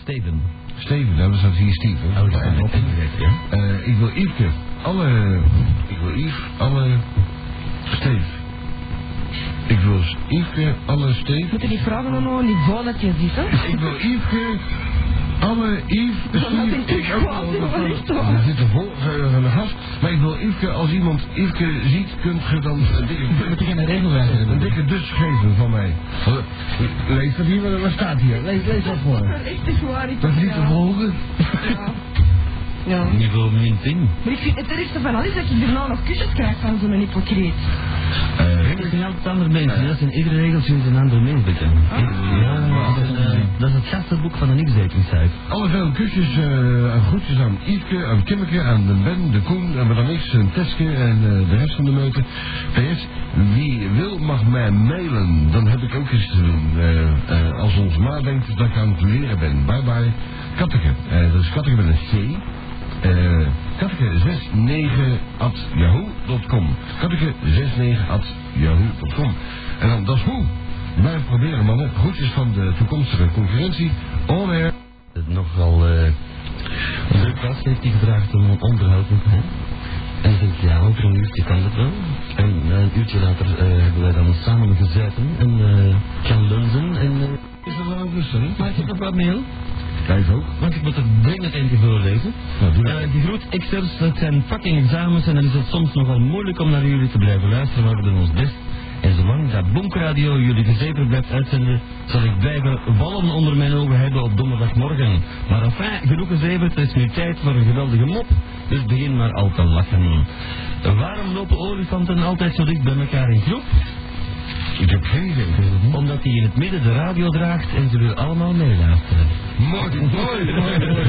Steven. Steven, nou, dat staat hier Steven. Oh, daar ben ik. Ja. Eh, ik wil Yveske. Alle... Ik wil Yves, alle... Steve. Ik wil Yveske, alle Steve. Moeten die vrouwen dan nog een niveau dat je ziet, hè? Ik wil Yveske, alle Yves, dat Steve. denk ik ook wel, wel. die wil ik toch. Er zit een vol eh, van de gast. Maar ik wil Yveske, als iemand Yveske ziet, kunt ge dan een dikke, Moet ik een regelwijzer een hebben? dikke dus geven van mij. Lees dat hier, wat- wat staat hier? Lees, lees dat voor me. Echt is waar, ik Dat is niet te volgen. Ja. ja. Niveau min 10. Maar ik vind het ergste van alles dat ik er nou nog kusjes krijg van zo'n hypocriet. Regels zijn altijd andere mensen. Ah. Dat zijn iedere regel sinds een ander mens bekend. Ja, dat is, eh, dat is het gastenboek van een x-dating-site. Allemaal kusjes eh, en groetjes aan Yveske, aan Kimmeke, aan de Ben, de Koen, aan Madame X, en Teske en eh, de rest van de meute. PS, wie wil mag mij mailen. Dan heb ik ook iets te doen. Eh, eh, als onze ma denkt dat ik aan het leren ben. Bye bye. Katteke. Eh, dat is Katteke met een C. Eh Katteke 69 at yahoo.com. Katteke 69 at yahoo.com. En dan, dat is hoe. Blijf proberen mannen. Groetjes van de toekomstige concurrentie. On air. Het nogal eh druk was, heeft hij gevraagd om een onderhoud met mij. En ik denk, ja, over een uurtje kan dat wel. En eh, een uurtje later eh, hebben wij dan samen gezeten en eh, gaan lunzen. En, eh, Is dat wel rustig, hè? maar ik heb nog wat mail, Kijk ook. want ik moet er dringend eentje voorlezen. Nou, doe dat. Eh die groet X'ers, dat zijn fucking examens en dan is het soms nogal moeilijk om naar jullie te blijven luisteren, maar we doen ons best. En zolang dat Bonkradio jullie gezever blijft uitzenden, zal ik blijven vallen onder mijn ogen hebben op donderdagmorgen. Maar enfin, genoeg gezeverd, het is nu tijd voor een geweldige mop, dus begin maar al te lachen. Eh, Waarom lopen olifanten altijd zo dicht bij elkaar in groep? Ik heb geen idee. Omdat die in het midden de radio draagt en ze willen allemaal meeluisteren. Mooi, mooi, mooi, mooi.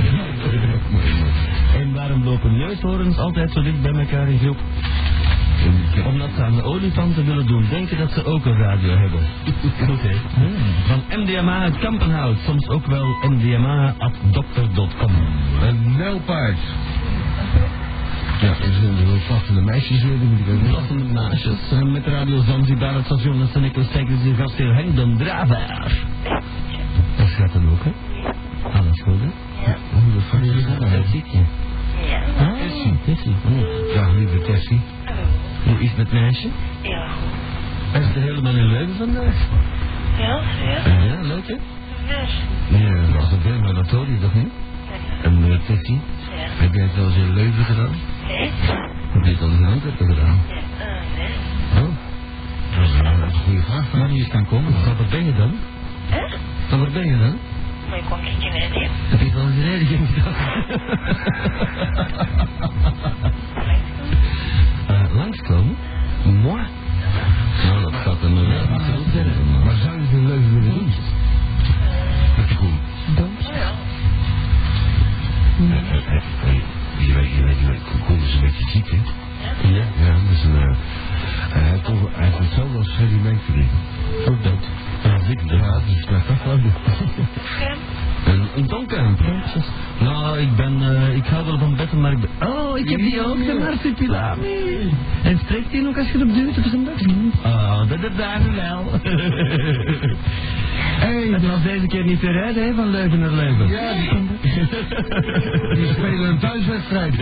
En waarom lopen neushoorns altijd zo dicht bij elkaar in groep? Omdat ze aan de olifanten willen doen denken dat ze ook een radio hebben. Goed hè? Van MDMA uit Kampenhout, soms ook wel MDMA at dokter.com. Een nijlpaard. Ja, er zijn er wel vattende meisjes weer, die moet ik ook nog. Blaffende maasjes, eh, met Radio Zanzibar, het station en San Nicolas Kijkers, de gastheer Henk den Draver. Dat gaat hem ook hè? Aan het school hè? Hoe de fuck is dat nou? Dat ziet je. Ah, Ja. Tessie. Tessie. oh. Dag lieve Tessie. Hoe is het met meisje? Ja. Is de helemaal in leuven vandaag? Ja, ja. Ja, leuk hè? Dus. Ja, Dat was een veel, maar dat hoorde je toch niet? en eh, Tessie, Ja. heb jij het wel eens in Leuven gedaan? Nee. Heb je het al in Antwerpen gedaan? Eh, nee. Oh, dat is een eh, goede vraag. Maar die is kan komen. Van waar ben je dan? Hè? Van waar ben je dan? Maar je komt niet in Nederland. Heb je wel eens reden gedaan? Eh, langskomen? Mooi. Nou, dat gaat een eh, niet zo verder. Maar zou je het in Leuven willen doen? Met de koen. Oh ja. Je weet, je weet, je weet, Koen is een beetje ziek, hè? Ja. Ja, dat is een. eh, hij heeft toch- hij heeft hetzelfde als Freddie Mercury. Ook dat. Ja, ik Ja, draad. dat is slecht afgelopen. Een, een donkerkamp. Nou, ik ben, eh, ik hou wel van betten, maar ik ben... Oh, ik heb die ook, de marsupilami. En spreekt die nog als je erop duwt op zijn dag? Oh, dat heb daar wel. Hey, Het was deze keer niet te redden, hè, van Leuven naar Leuven. ja, die, die spelen een thuiswedstrijd.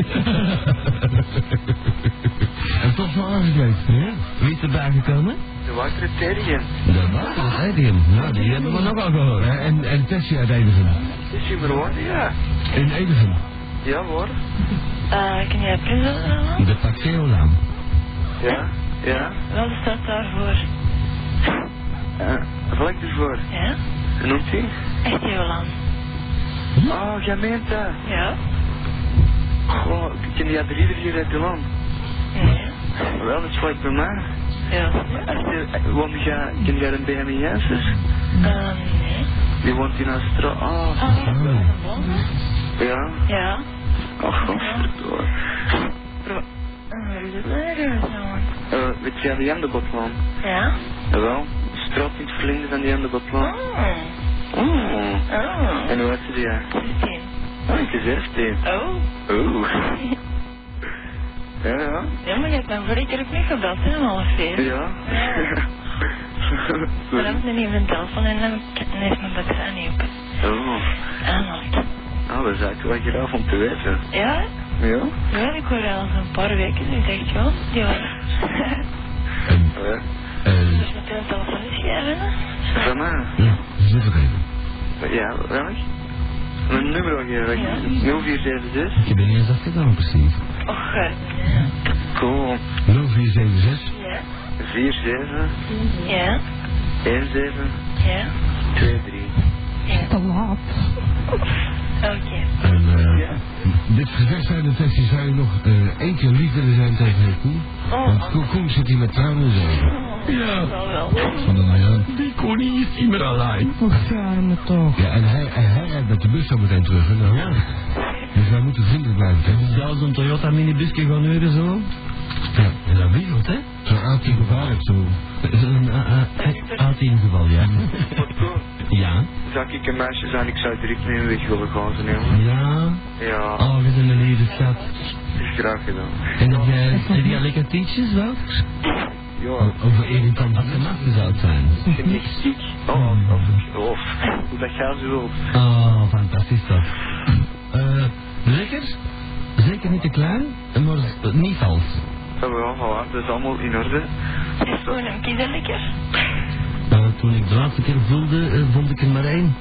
en toch zo aangekleed. Ja, Wie is erbij gekomen? De Waterterium. De Waterstadium. Nou, die hebben we nogal gehoord. Ja, en, en Tessie uit Edison. Is je verwoord? Ja. In Edison. Ja hoor. Eh, Kun jij Prinses halen? De Paxeolaan. Ja. Ja. Wat staat daarvoor? ja. Vlak ervoor. Ja? Hoe noemt hij? Echt Jolan. Oh, jij meent dat. Ja? Goh, ik ken die drie hier uit de land. Nee. Wel, dat is vlak bij mij. Ja. Als je, eh, woont jij, ken jij een Benjamin Janssens? Eh, nee. Die woont in Australië. Oh, Ah, ja. Wel, hè? ja. Ja. Oh, godverdoor. Eh, is het ergens, jongen? Eh, weet jij die andere botman? Ja? Jawel. Straat in het verlengde van die andere botman. Oh. Oeh. Oh. En hoe heet ze die? ja? Zestien. Oh, ik is 16. Oh. Oeh. Ja, ja. Ja, maar je hebt mij vorige keer ook niet gebeld, hè, om half vier. Ja. Maar dan heb ik niet mijn telefoon en dan heeft mijn bakje niet op. Oh. Aanhand. nou, dat is eigenlijk wel graag om te weten. Ja? Ja? Ja, ik hoor al een paar weken. Ik dacht, ja, die was... En, Ja. eh, Dus meteen telefoon schrijven, hè? Van mij? ja, dat is even geven. Ja, welk? Mijn nummer ook hier, Ja. 0476. Ik ben niet eens afgedaan precies. Och, eh, Cool. 0476 ja. 47 Ja, 17 ja, 23. ja. Te laat. Oké. En eh, Ja. dit gezegd zijn de tekstje zou je nog eh één keer liefde zijn tegen Koen. Oh. Want Koen, Koen zit hier met tranen in zijn ogen. Ja. Wel wel. Van de Nijaan. Die koning is niet meer alleen. Och, ja, arme toch. Ja, en hij, en hij rijdt met de bus zo meteen terug. Hè, nou. Ja. Dus wij moeten vriendelijk blijven. Hè? Zelfs een Toyota minibusje gaan huren zo. Ja. Ja, dat wiegelt, hè? Zo'n aantal gevaarlijk zo. Dat is Een A- A- A10 geval, ja. Wat cool. Ja. Zou ik een meisje zijn, ik zou direct mee weg willen gaan, zo nemen. Ja. Ja, Oh, we zijn een lieve schat. is graag gedaan. En dat jij, heb jij lekker tientjes wel? Oh, Ja, Over irritant dat ze nachten zou zijn. ik vind ik ziek. Oh, als ik, oh, hoe dat gaat zo wilt. Oh, fantastisch toch. Eh, lekker? Zeker niet te klein, maar eh, niet vals. Ja, wel, voilà, dat is allemaal in orde. Is gewoon een kinder lekker? Eh, toen ik de laatste keer voelde, eh, vond ik er maar één.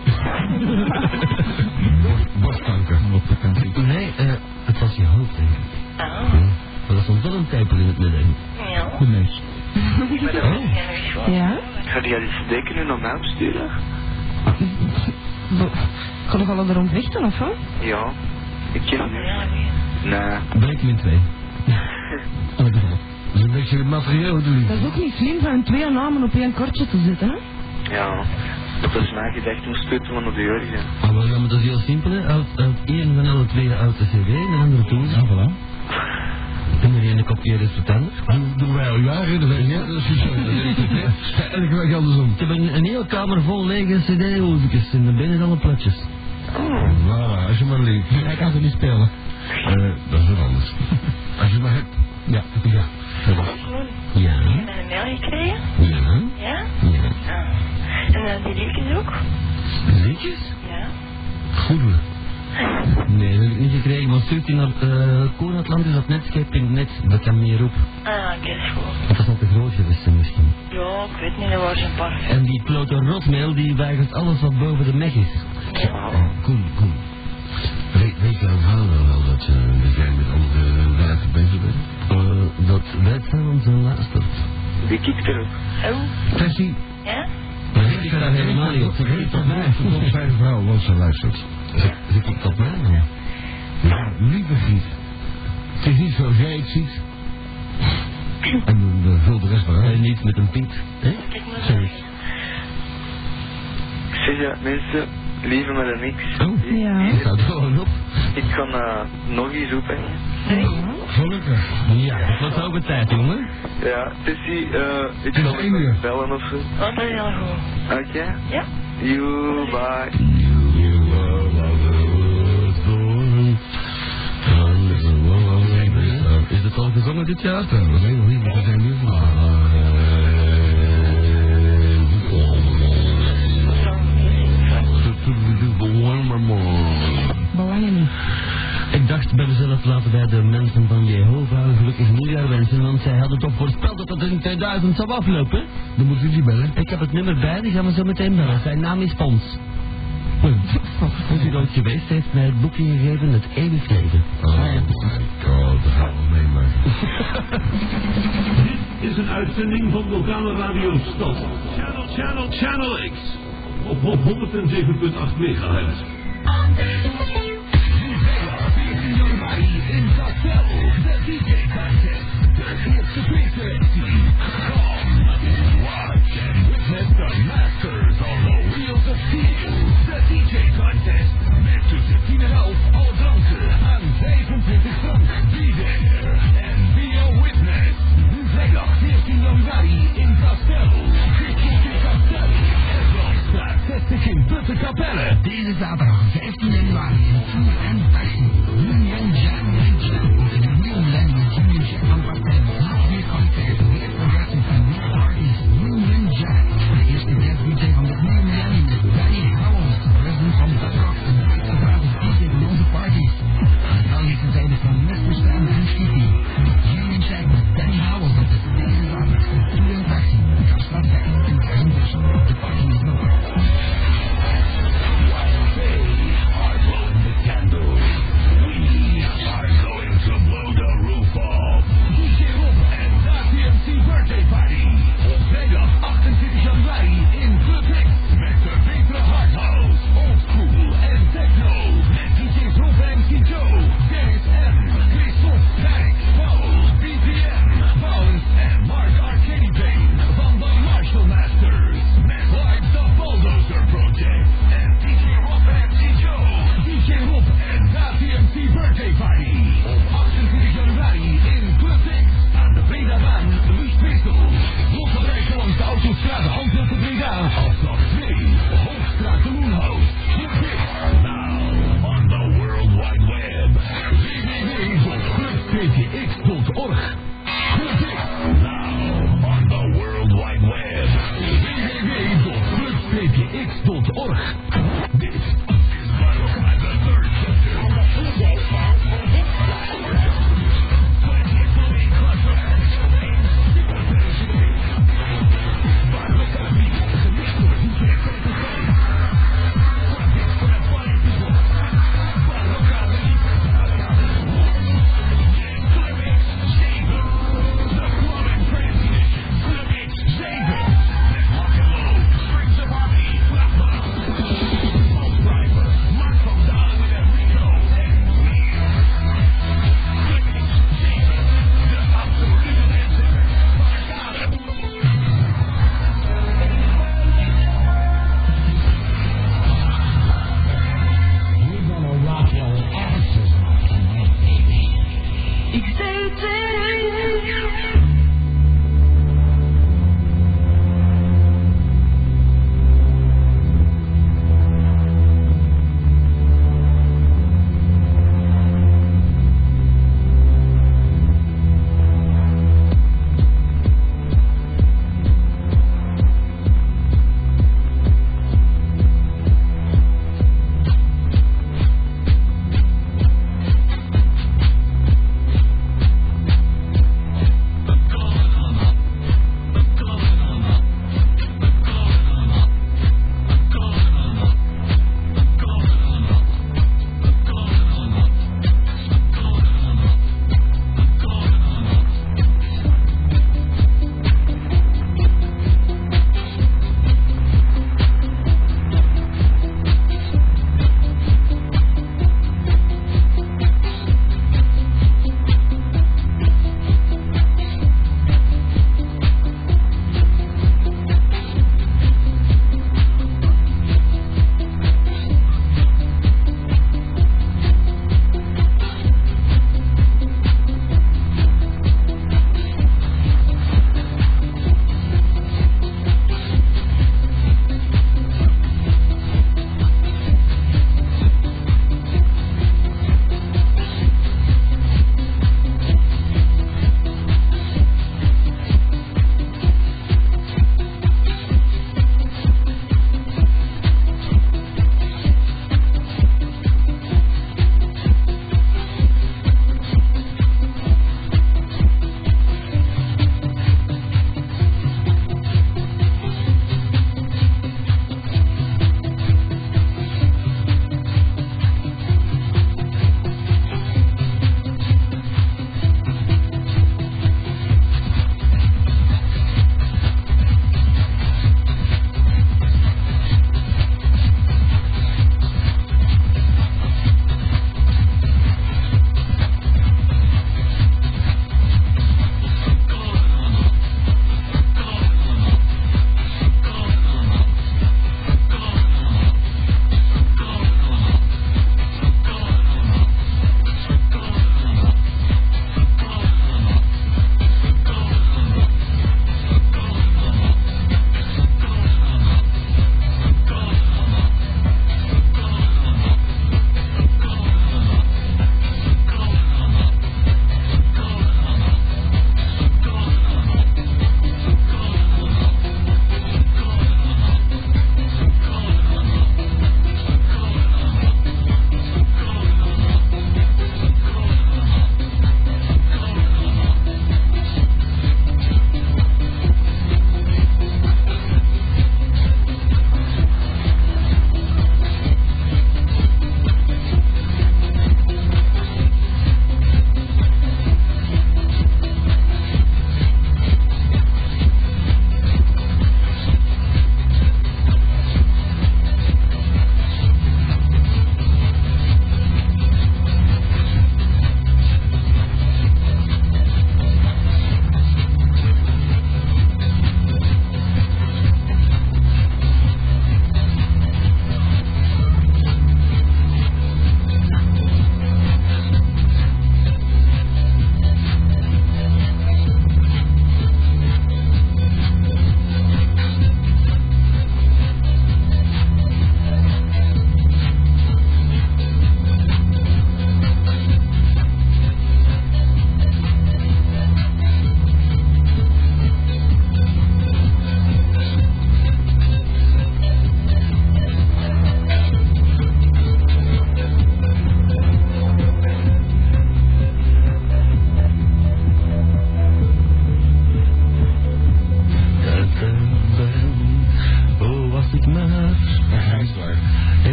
Borst- Borstkanker. Nee, eh, het was je hoofd, denk ik. Ah, Maar dat stond wel een tijpel in het midden. Oh, ja. Goed mens. Ja, dat is wel. Ja? Ga jij die steken nu naar mij opsturen? Bo- Gaan we wel erom vechten, of wat? Ja, ik ken hem niet. Ja, nee. Nee. Breek me in twee. Oh, ik bedoel. Dat is een beetje het materieel doen. Dat is ook niet slim van twee namen op één kortje te zetten, hè? Ja, dat is mijn gedachte om stuttelen op de Jurgen. Ah, wel, ja, maar dat is heel simpel, hè. Uit, uit één van alle twee uit de CD en de andere toe. Ja, voilà. En de ene kopieert het voor het ander. Dat doen wij al jaren, dat weet je. Dat is niet zo. Dat is het, hè. Het is elke week andersom. Ik heb een, een hele kamer vol lege cd-hoesjes en dan ben je alle platjes. Oh, Voilà, als je maar leeft. Hij kan ze niet spelen. Eh, dat is wat anders. Als je maar hebt. Ja. Ja. Gewoon, Ja. Ik heb een mail gekregen, Ja. ja. Ja. Ah. En eh, die liedjes ook, Liedjes? ja. Goed doen. Nee, dat heb ik niet gekregen, maar stuurt hij naar uh, koenatlandis.netscape.net, dat kan meer op. Ah, oké, is goed. Dat is nog te groot geweest hè, misschien. Ja, ik weet niet, er waren een paar. En die klote rotmail, die weigert alles wat boven de meg is. Ah, Oh, Koen, Koen. Weet, weet jouw vader wel dat, eh, dat jij met andere werken bezig bent? Eh, dat wij zijn onze luistert. Die kikt erop. Oh, Tessie, ja? Maar zit ik daar helemaal niet op? Richt Zit op op mij, mij? verkoop zijn vrouw, want ze luistert. Zit- Zit ik op mij? Ja. Ja, lieve Giet. Het is niet zoals jij het ziet. En dan eh, vul de rest maar En uit. niet met een piet, hè? Kijk maar Sorry. Ik zeg ja, mensen, liever maar dan niks. Oh. Ik- Ja. Staat gewoon op. Ik kan eh, nog iets ophangen. Gelukkig. Ja, het was over tijd, jongen. Ja, Tessie, eh, ik Het is zal één uur. even bellen of zo. Oh, dat is heel goed. Oké? Ja. You, bye. Is het al gezongen dit jaar? Ja, we zijn nog niet, maar we zijn nu van. Belangen niet. Ik dacht bij mezelf, laten wij de mensen van Jehovah een gelukkig nieuwjaar wensen, want zij hadden toch voorspeld dat het in 2000 zou aflopen. Dan moeten jullie bellen. Ik heb het nummer bij, die gaan we zo meteen bellen. Zijn naam is Pons. Pons. Als hij ooit geweest heeft, mij het boekje gegeven, het eeuwig leven. Oh my god, dat gaan we meemaken. is een uitzending van lokale radio Stad. Channel, channel, channel X. Op, op 107.8 megahertz. Deze zaterdag 15 januari in Tour en Passion. Union Jam Nation. The New Language Music. Ambassador Nazi Concert. Meer progressive en meer parties. Union Jam. De eerste dance DJ van het nieuwe millennium is Danny Howells. President van Bedrock. En de eerste DJ van ons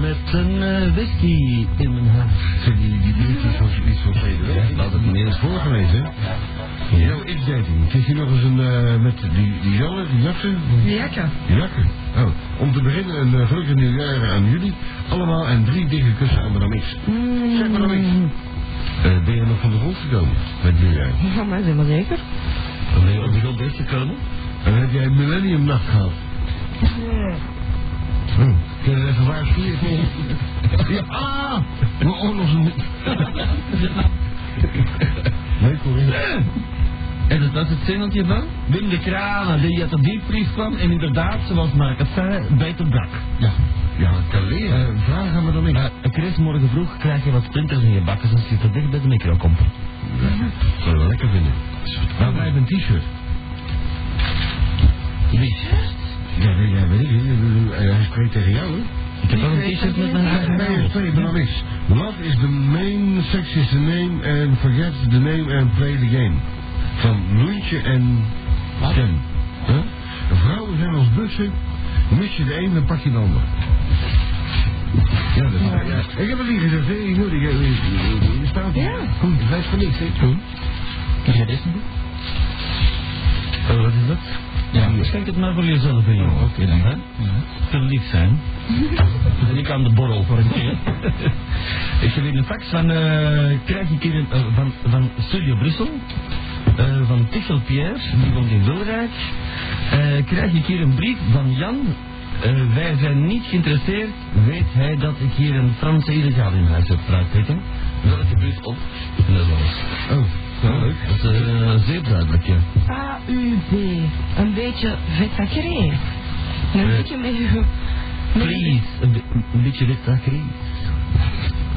met een eh, whisky in mijn hand. Zeg, die, die biertje is van, is van verleden week. Dat is het meer is voor geweest, hè? Yo, X-dating. Kreeg je nog eens een, eh, met die, die jongen, die jassen? Jakken. Die jakken. Oh, om te beginnen een eh, gelukkig nieuwjaar aan jullie. Allemaal en drie dikke kussen aan Madame X. Zeg Madame X. Eh, ben je nog van de grond gekomen met nieuwjaar? Ja, maar zeg maar zeker. Ben je op de grond deze komen? En heb jij een millennium nacht gehad? Eh, Hm. Kun je dat even waarschuwen? ja, ah! Mijn oorlogsnacht. nee, Corinne. En dat was het zingeltje van? Wim de Kraan, die had een diepvries kwam en inderdaad, zoals Mark het zei, beter dak. Ja, ja, dat kan leren. Eh, vraag aan Madame X. Maar eh, Chris, morgen vroeg krijg je wat splinters in je bakken, zoals je te dicht bij de micro komt. zou je wel lekker vinden. Waar blijft een t-shirt? T-shirt? Ja, ja, ja, weet ik. niet. Eh, Hij spreekt tegen jou, hè? Ik heb wel een t-shirt met mijn eigen Nee, naam nee, op. twee, Madame X. What is the main sex is the name and forget the name and play the game? Van Loentje en Ken. Huh? Vrouwen zijn als bussen. Mis je de een, dan pak je de ander. Ja, dat is ja. Ik heb het niet gezegd, hè. Ik hoor, ik- ik- ik- je staat hier. Goed, dat is van niks, hè. Goed. Is dat dit? Oh, wat is dat? Ja, schenk het maar voor jezelf in, jongen. Oké dan, hè? Verliefd zijn. en ik aan de borrel voor een keer. ik heb hier een fax van, eh, krijg ik hier een, eh, van, van Studio Brussel. eh, van Tichel Pierre, die woont in Wilrijk. Eh, krijg ik hier een brief van Jan. Eh, wij zijn niet geïnteresseerd. Weet hij dat ik hier een Franse illegaal in huis heb praktijken? Welke brief op? En dat is alles. Oh, nou, leuk. Dat is eh, zeer duidelijk, ja. AUB. Een beetje vettakkerij. Een Eh. dikke met uw... met- Please, een, be- een beetje wit zakkerij.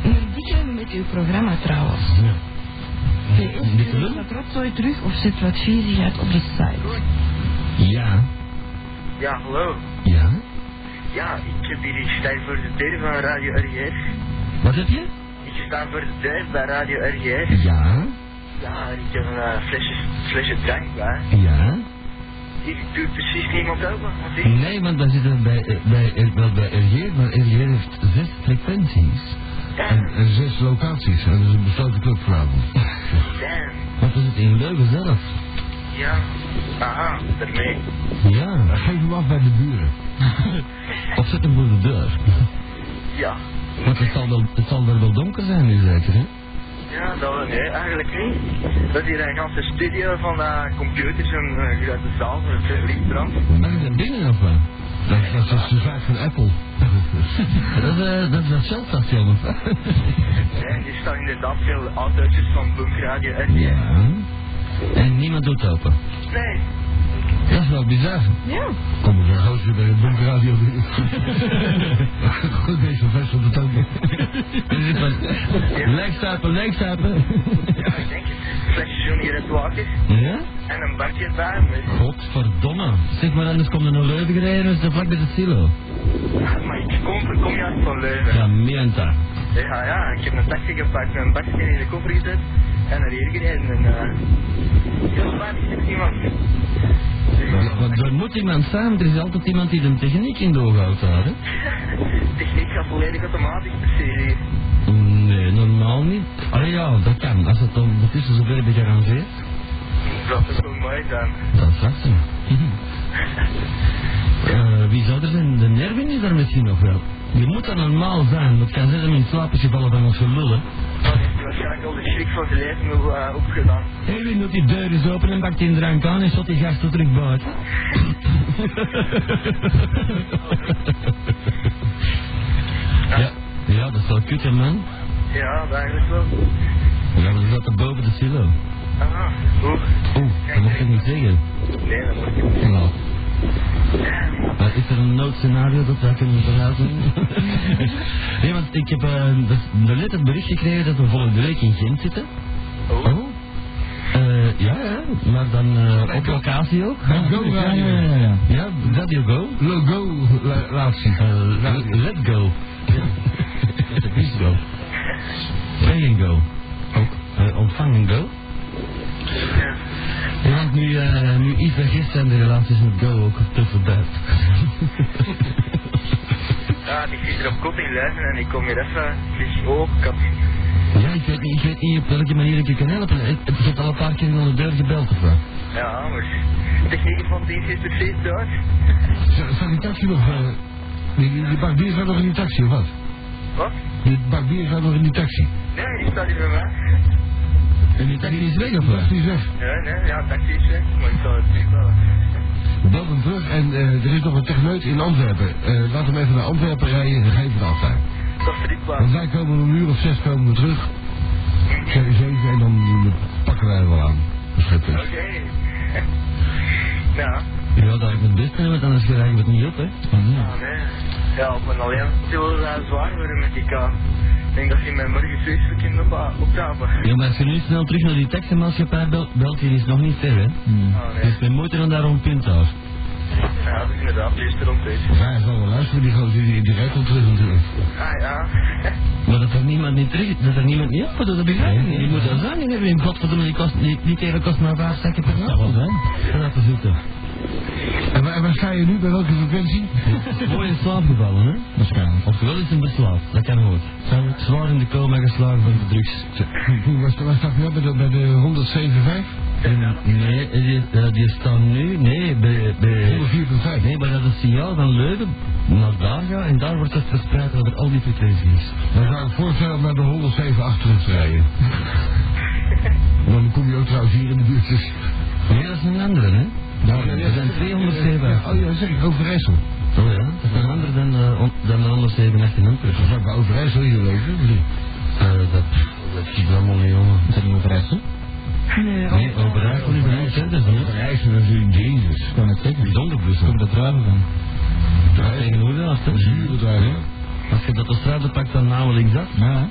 Een dikke met uw programma trouwens. Ja. PS, Dikke stuur lul? ons wat rotzooi terug of zet wat viezigheid op de site. Ja. Ja, hallo. Ja? Ja, ik heb hier, ik sta hier voor de deur van Radio RGR. Wat heb je? Ik sta voor de deur bij Radio RGR. Ja. Ja, en ik heb een eh, flesje, flesje drank bij. Ja. Hier doet precies niemand open, want ik... Nee, want dan zitten we bij, eh, bij, eh, wel bij RG, maar RG heeft zes frequenties. En, en zes locaties. En dus dat is een besloten club vanavond. Damn. Wat is het in Leuven zelf? Ja. Aha, daarmee. Ja. Geef hem af bij de buren. Of zit hem voor de deur? Ja. Want het zal wel, het zal daar wel donker zijn nu zeker, hè? Ja, dat wel, nee, eigenlijk niet. Dat is hier een ganse studio van eh, computers en eh, grote zaal voor het lichtbrand. Mag je dan binnen of wat? Dat, dat is de zaak van Apple. Dat is, eh, dat is dat Shell-station of wat? En hier staan inderdaad veel auto's van Boom Radio en... Ja. En niemand doet open. Nee, Dat is wel bizar. Ja. Kom er gauw weer bij de bunkerradio binnen. Goed, deze vest op de tanden. Dat is van, Lijkstapen, lijkstapen. ja, ik denk het. Flesje hier het water Ja? en een bakje erbij met... Godverdomme. Zeg maar, anders komt er een leuven gereden, dus de vlak bij de silo. Maar ik kom, kom juist van Leuven. Ja, mienta. Ja, ja, ik heb een taxi gepakt, mijn bakje in de koffer gezet en naar hier gereden. En, eh heel spijtig, ik heb iemand. Dus Want er moet iemand zijn, want er is altijd iemand die de techniek in de ogen houdt daar, hè? Techniek gaat volledig automatisch precies hier. Nee, normaal niet. Ah ja, dat kan. Als het ondertussen zover gearrangeerd, Dat zou toch mooi zijn. dan vraagt ze me. Eh, wie zou er zijn? De Nervin is er misschien nog wel. Je moet er normaal zijn, want kan zijn dat hem in slaap is gevallen van onze lullen. Dat is waarschijnlijk al de schrik van zijn leven nog eh, opgedaan. Erwin doet die deur eens open en pakt die drank aan en zet die gasten terug buiten. ja, ja, dat is wel kut, hè, man. Ja, dat eigenlijk wel. Ja, maar ze zaten boven de silo. Aha, hoe? Oeh, dat mocht ik niet zeggen. Nee, dat moet ik Nou. Maar is er een noodscenario dat wij kunnen verlaten? nee, want ik heb eh, dus net het bericht gekregen dat we volgende week in Gent zitten. Oh. Eh, ja, ja, maar dan eh, op locatie ook. Go Radio. ja. Ja, Radio Go. Logo la- laatst. Eh, le- let go. Is go. Pay and go. Ook. eh, ontvang en go. Ja, want nu, eh, nu iets vergist zijn de relaties met go ook te verduid. Ja, ja, ik zit er op kop in luisteren en ik kom hier even. oh, Ik lig ook kap. Ja, ik weet, niet, ik weet niet op welke manier ik je kan helpen. Het, het heeft al een paar keer onder de deur gebeld of wat. Ja, maar techniek van dienst is precies Duits. Z- Staat die taxi nog... eh, die, die die barbier staat nog in die taxi, of wat? Wat? Die barbier staat nog in die taxi. Nee, die staat hier bij mij. En die taxi is weg of Dat wat? is weg. Ja, nee, ja, taxi is weg, maar ik zal het niet eh, bellen. Bel hem terug en eh, er is nog een techneut in Antwerpen. Eh, laat hem even naar Antwerpen rijden en geef het af daar. Dat is Want drietwaard. wij komen om een uur of zes komen we terug. Ze- Zeven en dan eh, pakken wij hem wel aan. Oké. Schitterend. Ja, Ja, dat ik het best ben, want anders krijgen we het niet op, hè. Mm-hmm. ah, nee. Ja, op mijn alleen zullen ze zwaar worden met die kaan. Ik denk dat ze mij morgen zoiets verkeerd op optapen. Ja, maar als je nu snel terug naar die taximaatschappij belt, belt die is nog niet ver, hè. Oh, Ah, nee. Dus we moeten dan daar rond punt houden. Ja, dat is inderdaad liefst rond deze. Wij zal wel luisteren, die gozer die, die rijdt al terug natuurlijk. Ah ja. Maar dat er niemand niet terug, dat er niemand niet op moet, dat begrijp ik niet. Die moet dat zijn, die hebben in godverdomme, die kost, die, die tele kost maar vijf zakken per dag. Dat wel zijn. Dat is het toch. En waar, en waar sta je nu, bij welke frequentie? Mooi in slaap gevallen, hè? Waarschijnlijk. Ofwel is een beslaafd, dat kan ook. Zijn wordt zwaar in de coma geslagen van de drugs. Hoe was, was dat nou bij de, bij de 107.5? Nee, die, eh, die staan nu, nee, bij, bij... 104.5. Nee, maar dat is signaal van Leuven naar daar gaan en daar wordt het verspreid over al die frequenties. Dan zou ik voorstellen om naar de 107 achter te rijden. Dan kom je ook trouwens hier in de buurt. Dus. Nee, dat is een andere, hè? Nou, er zijn 207 Ja, Oh ja, zeg ik, Overijssel. Oh ja, dat is een andere dan, eh, on- dan de 187 amper. Dan zou ik bij Overijssel hier leven. of niet? Eh, dat, dat is allemaal niet, jongen. Is dat niet Overijssel? Nee, Nee, Overijssel is een centrum, hè? Overijssel is natuurlijk Jezus. Ik kan het zeggen. Bijzonder bus, hoor. Daar draven van. Daar tegen hoe dat, hè? Zure daar, hè? Als je dat straat pakt, dan namelijk dat. Ja,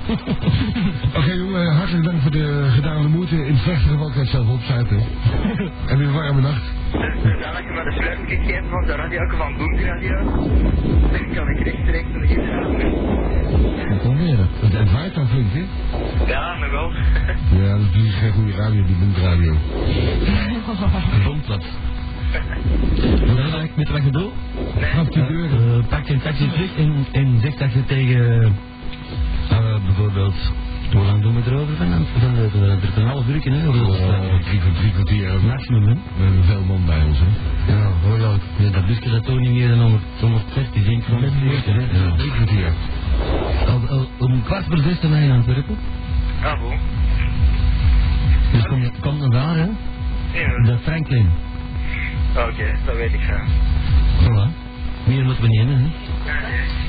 Oké jongen, eh, hartelijk dank voor de gedane moeite. In het slechtste geval kan je het zelf opzuipen. en weer een warme nacht. Nadat je me de sluitkick geeft van de radio, ook van Boom Radio, dan kan ik rechtstreeks naar de gids dat kan weer. Het, het waait dan flink, hè? Ja, nog wel. Ja, dat is geen goede radio, die boekradio. Komt dat. Met wat je doet? Knap die deuren. Eh, pak een taxi terug en, en zeg dat je tegen Ah, eh, bijvoorbeeld. Hoe lang doen we erover van van de Er is een half uur in hè? hoeveel is dat? Oh, drie, drie kwartier. eh, Maximum, hè? We hebben veel man bij ons, hè? Ja, hoe lang? Ja, dat busje dat toch niet meer dan 100 130, denk ik. 140, hè? Ja, drie kwartier. Al- al- Om kwart voor zes zijn wij in Antwerpen. Ah, boom. Dus kom, kom dan daar, hè? Ja, De Franklin. Oké, dat weet ik zo. Voilà. Meer moeten we niet hebben, hè?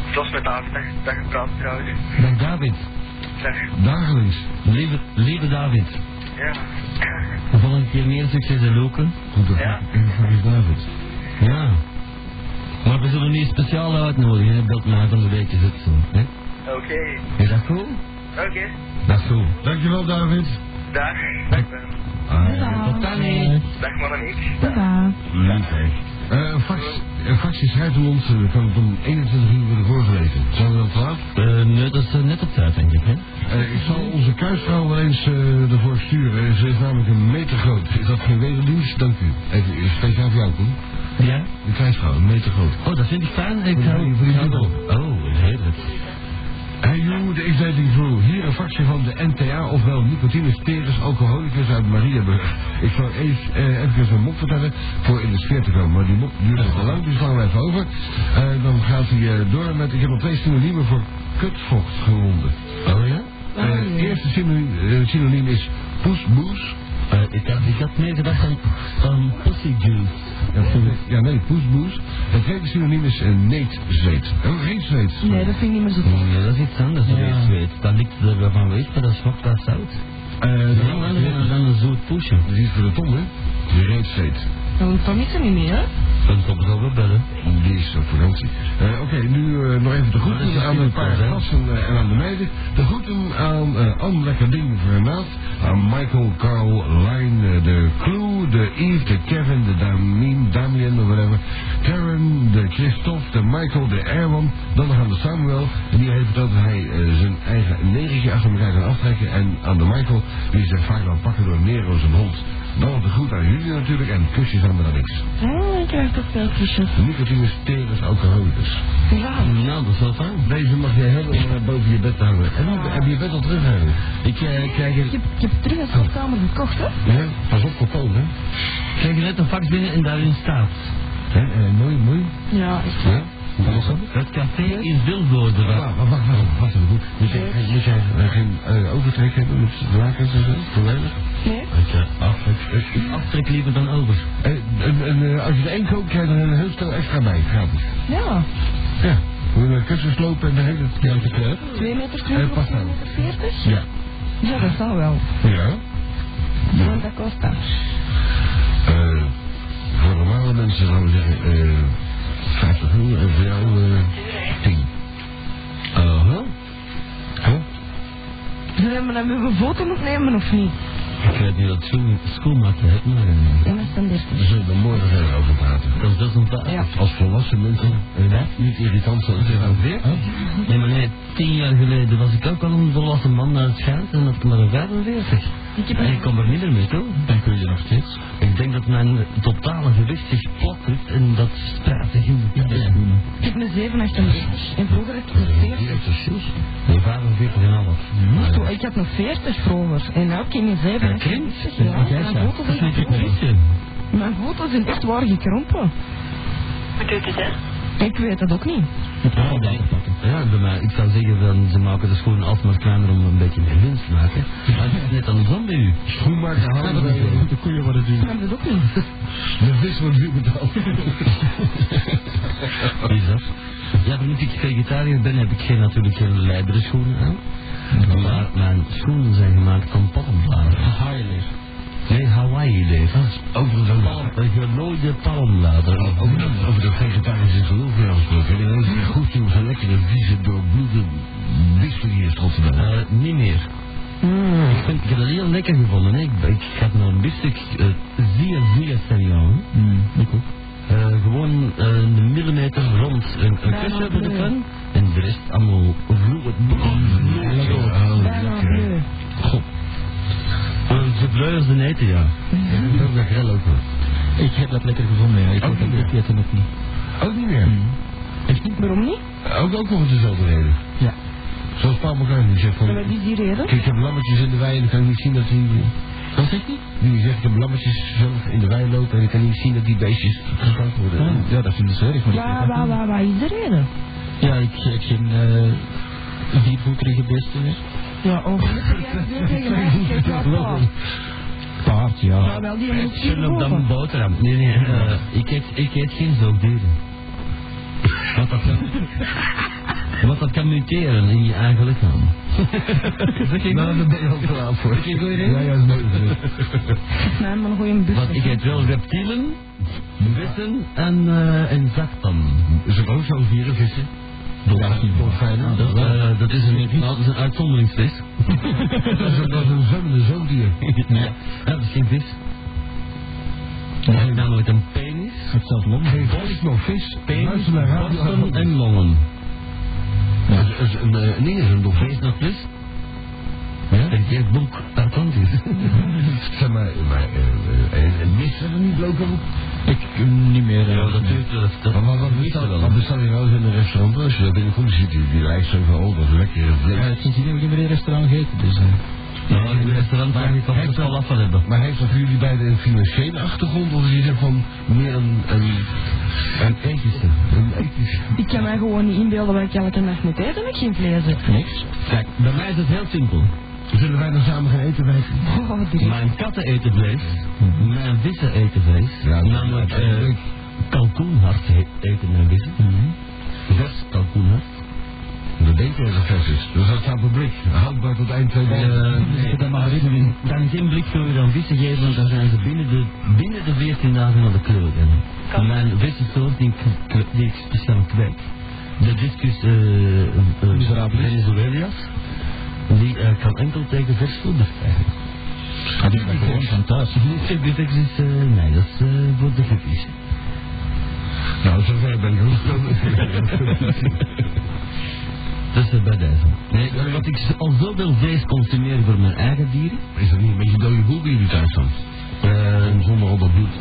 Het was met David dat- dat gepraat trouwens. Dag David. Zeg, Dagelijks. Lieve, lieve David. ja. De volgende keer meer succes en loken. Goed, dat Ja. is David. Ja. Maar we zullen nu speciaal uitnodigen. Hè? Belt mij van de week is het zo. Hè? Oké, Is dat goed? oké. Dat is goed. Dankjewel, David. Dag. Dag, Ben. Dat kan niet. Dag, Monique. Papa. Eh, fax, eh, fax die schrijft om ons, eh, kan het om 21 uur worden voorgelezen. Zijn we dan te laat? Eh, nee, dat is eh, net op tijd, denk ik. Hè? Eh, ik zal onze kuisvrouw wel eens eh, ervoor sturen. Ze is namelijk een meter groot. Is dat geen wederdienst? Dank u. Even eh, speciaal voor jou, Koen. Ja? De kuisvrouw, een meter groot. Oh, dat vind ik fijn. Ik Ja, hou voor die hou- dubbel. Oh, heerlijk. Hey you, de X-Dating Crew. Hier een fractie van de NTA, ofwel nicotines, teres, alcoholicus uit Mariaburg. Ik zal eens eh, even een mop vertellen voor in de sfeer te komen. Maar die mop duurt nog wel lang, dus slaan we even over. Eh, dan gaat hij eh, door met, ik heb al twee synoniemen voor kutvocht gevonden. Oh ja? Eh, het eerste synoniem, eh, synoniem is poesboes. Eh, ik, had, ik had meer gedacht aan, aan pussy juice. Ja, ja, nee, poesboes. Het tweede synoniem is eh, neetzweet. Oh, geen zweet. Nee, dat vind ik niet meer zo goed. Ja, dat is iets anders. Ja. Weet, weet. Dat ligt er wel van weg, maar dat smaakt dat zout. Eh, Dat is de niet andere- anders dan- dan een zoet poesje. Dat is iets voor de tong, hè? Die reetzweet. Dan moet Tommy ze niet meer, hè? Dan komt het wel bellen. Die is op vakantie. Eh, Oké, nu eh, nog even de Nou, Dat is groeten aan een een paar hè? gasten eh, en aan de meiden. De groeten aan eh Anne Lekker Ding Vernaat, aan Michael, Carl, Lijn, eh, de Clue, de Yves, de Kevin, de Damien, Damien of whatever, Karen, de Christophe, de Michael, de Erwan, dan nog aan de Samuel. En die heeft dat hij eh, zijn eigen negentje achter elkaar kan aftrekken. En aan de Michael, die zich vaak laat pakken door Nero zijn hond. Dan nog de groet aan jullie natuurlijk en kusjes aan de niks. Ja, ik krijg aardappeltjes. Nicotine sterens alcoholicus. Ja. Nou, dat is wel fijn. Deze mag je hebben om eh, boven je bed te hangen. En ook, heb je je bed al teruggehangen? Ik eh, krijg, Ik hier, heb, ik heb terug een slaapkamer gekocht, hè? Ja, pas op voor koud, hè? krijg hier net een fax binnen en daarin staat. Hè, eh, mooi, mooi. Ja, echt Ja? Wat was dat? Ah, Het café in Vilvoorde. Wacht, wacht, wacht, wacht, wacht even. Moet jij, geen- moet jij eh, geen eh, overtrek hebben met lakens en zo? Volledig? Nee? Ik eh, aftrek, ik aftrek liever dan over. Eh, en, en, eh, als je er één koopt, krijg je er een heel stel extra bij, gratis. Ja. Ja. Moet je een kussens lopen en de hele juiste kleur? 2 meter Eh, 20 pas of nou. 2 meter 40? Ja. Ja, dat zal wel. Ja? Want dat kost dat. Eh, voor normale mensen zouden we zeggen eh, 50 euro en voor jou eh 10. Aha. Huh? Zullen we dan met mijn foto opnemen of niet? Ik weet niet wat schoen- schoenmaker heeft, maar eh, Ja, dat is dan 30. We zullen er morgen verder over praten. dat is best een fax. Ja. Als volwassen mensen eh, niet irritant zijn. Weer? Nee, maar nee, tien jaar geleden was ik ook al een volwassen man naar het schijnt en dat ik maar een 45. Ik heb En ik een... kom er niet meer mee toe. Dan kun je nog steeds. Ik denk dat mijn totale gewicht zich plat heeft en dat spijt zich in de pijl. Ik heb een 37. En vroeger had ik een 40. Nee, 45 en half. Maar zo, Ik had een 40 vroeger. En nu ken je Ja, 37. krimpt. Ja, Ja, mijn foto's dat is zijn niet gekrompen. gekrompen. Mijn foto's zijn echt waar gekrompen. Hoe doet het, hè? Ik weet dat ook niet. Ja, nee. Ja, bij mij, ik zou zeggen van ze maken de schoenen altijd maar kleiner om een beetje meer winst te maken. Maar het is net andersom bij u. Schoenmaker halen bij de koeien worden Ik duur. snap dat ook niet. De vis wordt duur betaald. Wat is dat? Ja, omdat ik vegetariër ben, heb ik geen, natuurlijk geen leidere schoenen aan. Maar mijn schoenen zijn gemaakt van palmbladeren. Hawaii leef. Nee, Hawaii leef. Overigens ook nog. Palm, een genooide palmbladeren. Ook Oh, dat over dat vegetarische geloof weer gesproken. En dan is Mm. het goed om zo'n lekkere, vieze, doorbloede wissel hier Mm. tot te brengen. Eh, niet meer. Ik, vind, ik heb dat heel lekker gevonden. hè. Ik, ik ga naar een biefstuk eh, zeer, zeer serieus. Mm, Ik ook. Eh, gewoon eh, een millimeter rond een, een kusje hebben de pen. En de rest allemaal vloeiend. Oh, Bijna lekker. bleu. Een Eh, gebluisde eten, ja. En ook lekker ook wel. Mhm. Ik heb dat lekker gevonden, ja. Ik Ook niet meer. weet het nog niet. Mhm. Ook niet meer. Waarom niet? Ook, ook nog om dezelfde reden. Ja. Zoals Paul McCartney zegt van... Maar wat is die reden? Kijk, ik heb lammetjes in de wei en dan kan ik niet zien dat die... Wat zegt hij? Die zegt, ik heb lammetjes zelf in de wei lopen en ik kan niet zien dat die beestjes geslacht worden. Ah, Ja, dat vind ik zo erg. Ja, waar, waar, waar is de reden? Ja, ik heb geen viervoeterige beesten meer. Ja, oh. Ik Paard, ja. Ja, wel, die moet je Zullen op dan kopen. boterham? Nee, nee. eh, ik, eet, ik eet geen zoogdieren. Want dat kan... Want dat kan muteren in je eigen lichaam. Zeg ik Nou, nou? daar ben je al te laat voor. Heb je een goeie reden? Ja, ja, dat is leuk. Nee, maar een goeie bus. Want ik eet wel reptielen, vissen en, eh en zaktan. Is het ook zo'n vieren, vissen? Dolfijnen. Dolfijnen. Dat, eh, dat, is een, nou, dat is een uitzonderingsvis. Dat is een- dat is een zwemmende zoogdier. ja, dat is geen vis. Dat heeft namelijk een penis, Hetzelfde lom. Geen vis, nog vis. penis, Luister naar radio. borsten en longen. Ja, dat is een, eh, nee, dat is een dolfijn. Wees nog plus, Ja? en geef boek per kant is. Zeg maar, maar eh, eh, en, en missen we niet bloot op? Ik niet meer. Ja, dat duurt dat, dat, Maar wat, wat, dat bestel, wel. wat bestel je wel eens in een restaurant? Als je daar binnenkomt, ziet je die lijst zo van, oh, dat is lekkere vlees. sindsdien heb ik in een restaurant gegeten, eh. dus... Nou, in een restaurant waar je toch Heeft het dat- wel af van hebben. Maar heeft dat voor jullie beiden een financiële achtergrond? Of is het van meer een... een een ethische. Een ethische. Ik kan mij gewoon niet inbeelden wat ik elke nacht moet eten met geen vlees. heb. Niks? Kijk, bij mij is het heel simpel. Zullen wij dan samen gaan eten? Wij... Oh, die Mijn katten eten vlees, mijn vissen eten vlees, Ja, dat- namelijk dat- eh, dat- kalkoenhart he- eten mijn vissen. Vers kalkoenhart. We denken Mhm. dat het vers is. Dus dat staat op blik. Houdbaar tot eind Eh, 2000. nee, Dan geen blik voor je aan vissen geven, want dan zijn ze binnen de, binnen de 14 dagen naar de kleur. En Kan. mijn vissensoort die, ik- die ik speciaal kwijt. De discus eh, eh, Miserabilis. Venezuela's, die eh, kan enkel tegen vers voeder eigenlijk. Ah, Gaat u gewoon van thuis? Bitex is, eh, nee, dat is eh, voor de gekkies. Nou, zover ben ik ook. Dus eh, bij deze. Nee, eh, want ik z- al zoveel vlees consumeer voor mijn eigen dieren. Is dat niet een beetje dode boel bij jullie thuis dan? Eh, En zonder al dat bloed.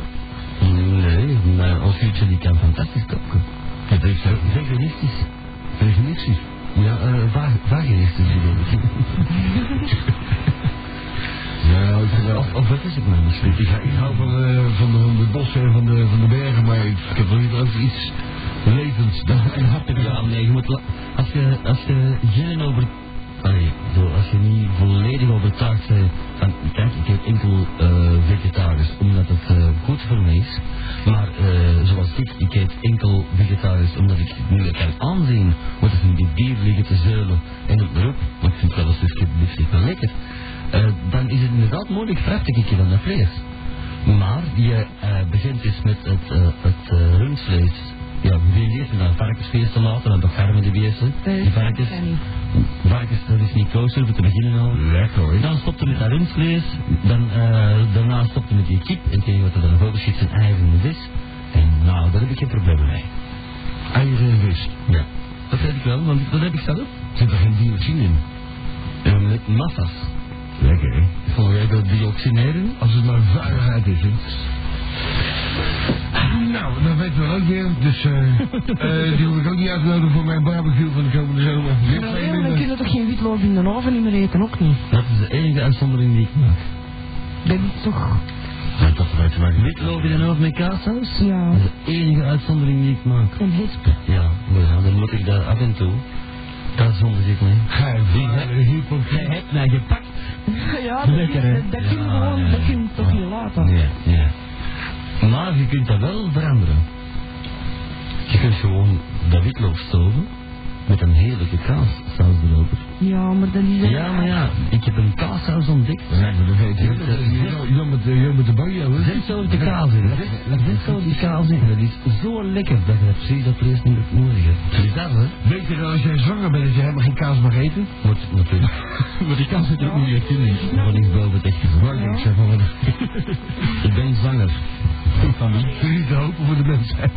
Nee, maar ons uurtje die kan fantastisch koken. Het is veganistisch. Veganistisch? Ja, eh, va vaginistisch bedoel ik. Ja, Nou, ik vind wel- oh, Of, of wat is het nou misschien? Ik, ik hou van, eh, van, de, van de bossen en van de, van de bergen, maar ik, ik heb wel liever ook iets levends. Dan, En happen, ja, nee, je moet... la- Als je, als je geen over... Allee, zo, als je niet volledig overtuigd bent van... Kijk, ik heb enkel eh vegetarisch, omdat het eh, goed voor me is. Maar eh, zoals dit, ik eet enkel vegetarisch, omdat ik het niet meer kan aanzien. Want het in die dier liggen te zeulen en het erop. Want ik vind het wel een stukje biefstuk wel lekker. Eh, dan is het inderdaad moeilijk vrachtig ik je dan naar vlees. Maar je eh, begint dus met het, eh, het eh, rundvlees. Ja, wie leert je dan varkensvlees te laten, want dat garmen die beesten, die varkens. kan niet. Varkens, dat is niet kosher, om te beginnen al. lekker hoor. Dan stopte met dat rundvlees, dan, eh, daarna stopte met die kip, en tegen wat er dan voor schiet zijn eieren en vis. En nou, daar heb ik geen probleem mee. Eieren en vis. Ja. Dat weet ik wel, want dat heb ik zelf. Zit er geen dioxine in? En met massa's. Lekker hè? Vond jij dat dioxineren? Als het maar vuiligheid is hè. Nou, dat weten we ook weer. Dus eh, eh, die hoef ik ook niet uit te nodigen voor mijn barbecue van de komende zomer. Weer Maar twee ja, maar dan kun minder. je toch geen witlof in de oven niet meer eten, ook niet. Dat is de enige uitzondering die ik maak. Dat is toch... Dat had ermee te maken. Witloof in een hoofd met kaassaus? Ja, Dat is de enige uitzondering die ik maak. een hisp. Ja, maar ja, dan moet ik daar af en toe. Dat is ik mee. Ga je varen, Jij hypocriet. hebt mij gepakt. Ja, Ah, dat, Lekker, is, hè? dat, dat kun je Ja, gewoon... ja, Dat kun ja. je toch niet laten. Nee, nee. Maar je kunt dat wel veranderen. Je kunt gewoon dat witloof stoven met een heerlijke kaassaus erop. Ja, maar dat is... Ja, maar ja, ik heb een kaassaus ontdekt. Ja, maar dat weet je. Zet- Jan met, eh, Jan met de bui, hoor. Zet zo de kaas in. Zet- Zet zo die kaas in. Dat is zo lekker dat je precies dat vlees niet meer nodig hebt. Zie je dat, hè? Weet je dat als jij zwanger bent dat je helemaal geen kaas mag eten? Moet natuurlijk. Maar die kaas zit er ook niet echt in. Ik ben niet boven het echt. Waar ik zeg maar wat. Ik ben zwanger. Van wie? Het is niet te hopen voor de mensheid.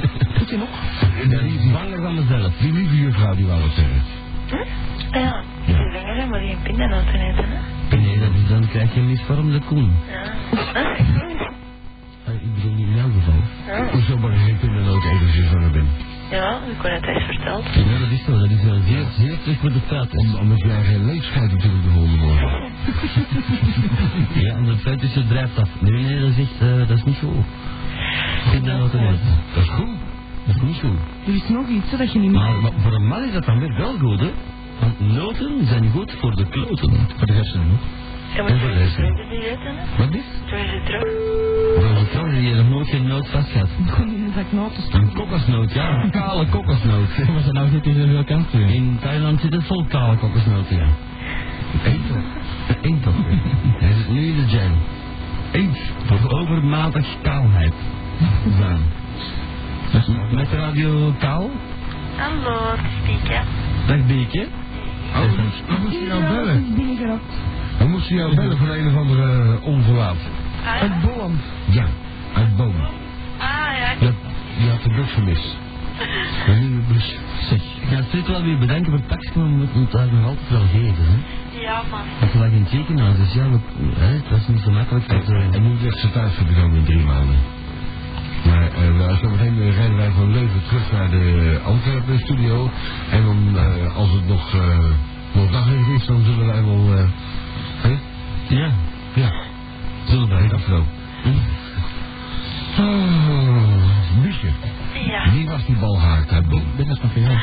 Ik ben zwanger van mezelf. Die lieve juffrouw die wou dat zeggen. Ah ja, als je zwanger bent moet je geen pindanoten eten, hè? Nee, dat is, dan krijg je een misvormde koen. Ja. Eh, Ik bedoel niet in elk geval. Ah, Hoezo mag je geen pindanoot eten als je zwanger bent? Ja, ik word het eens verteld. Ja, dat is zo. Dat is wel zeer, zeer terug voor de feiten. Om, omdat jij geen leefschijt natuurlijk de volgende morgen. Ja, en de feit is je drijft af. Nee, nee, dat is echt, eh, dat is niet goed. Ik vind dat nog te net. Dat is goed. Dat is niet goed. Er is nog iets hè, dat je niet meer... Maar, maar voor een man is dat dan weer wel goed, hè? Want noten zijn goed voor de kloten. Voor de hersenen, hè? Je moet dat is- je drugs niet eten, hè? Wat is? Doe je drugs? Voor de kloten die je nog nooit geen noot vast gaat. Gewoon in een zak noten Een stoppen. kokosnoot, ja, een kale kokosnoot. Waar ze nou zitten in welk kant In Thailand zit het vol kale kokosnoten, ja. Eén toch? Eén toch? Hij zit nu in de jam. Eens voor overmatig kaalheid. Zaan. Met radio kaal? Hallo, het is Pieke. Dag Beekje. Oh, we moesten jou bellen. We moesten jou bellen voor een of andere eh, onverlaat. Ah, Een ja. boom. Ja, uit Boom. Ah, ja. Je, je had de bus gemist. En nu de bus. Zeg, ik ga steeds wel weer bedenken voor het pakje, maar we moeten het daar nog altijd wel geven, hè. Ja, man. Want we lag in het ziekenhuis, dus ja, we, hè, het was niet zo makkelijk. Dat, eh, En nu ligt ze thuis voor de komende drie maanden. Maar eh we- zometeen eh, rijden wij van Leuven terug naar de Antwerpen studio. En dan, eh, als het nog, eh nog daglicht is, dan zullen wij wel... eh, hè? ja, Ja, zullen nee, wij dat dat wel. Oh, Biesje, Ja. wie was die balhaard uit Boom? Dit is nog geen Ik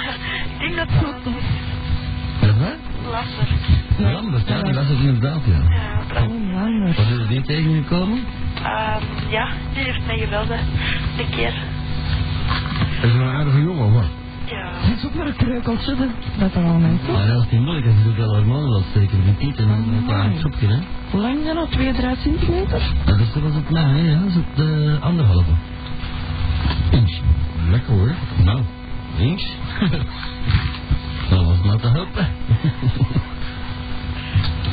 denk dat het goed is. Is dat? Lastig. Lambert, ja, die was het inderdaad, ja. Ja, dat- Oh, langer. Was er die tegengekomen? Ehm, ja, die heeft mij gebeld, hè. De keer. Dat is een aardige jongen, hoor. Ja. Het is ook maar een kreukeltje, dat- dat er al mee. Maar dat is niet moeilijk, als je zoveel hormonen wilt steken. Die tieten en een paar soepje, hè. Hoe lang zijn dat? 2, 3 centimeter? Dat is zoals het na, hè, ja. Dat is het eh, anderhalve. Inch. Lekker hoor. Nou, inch. dat was maar te helpen.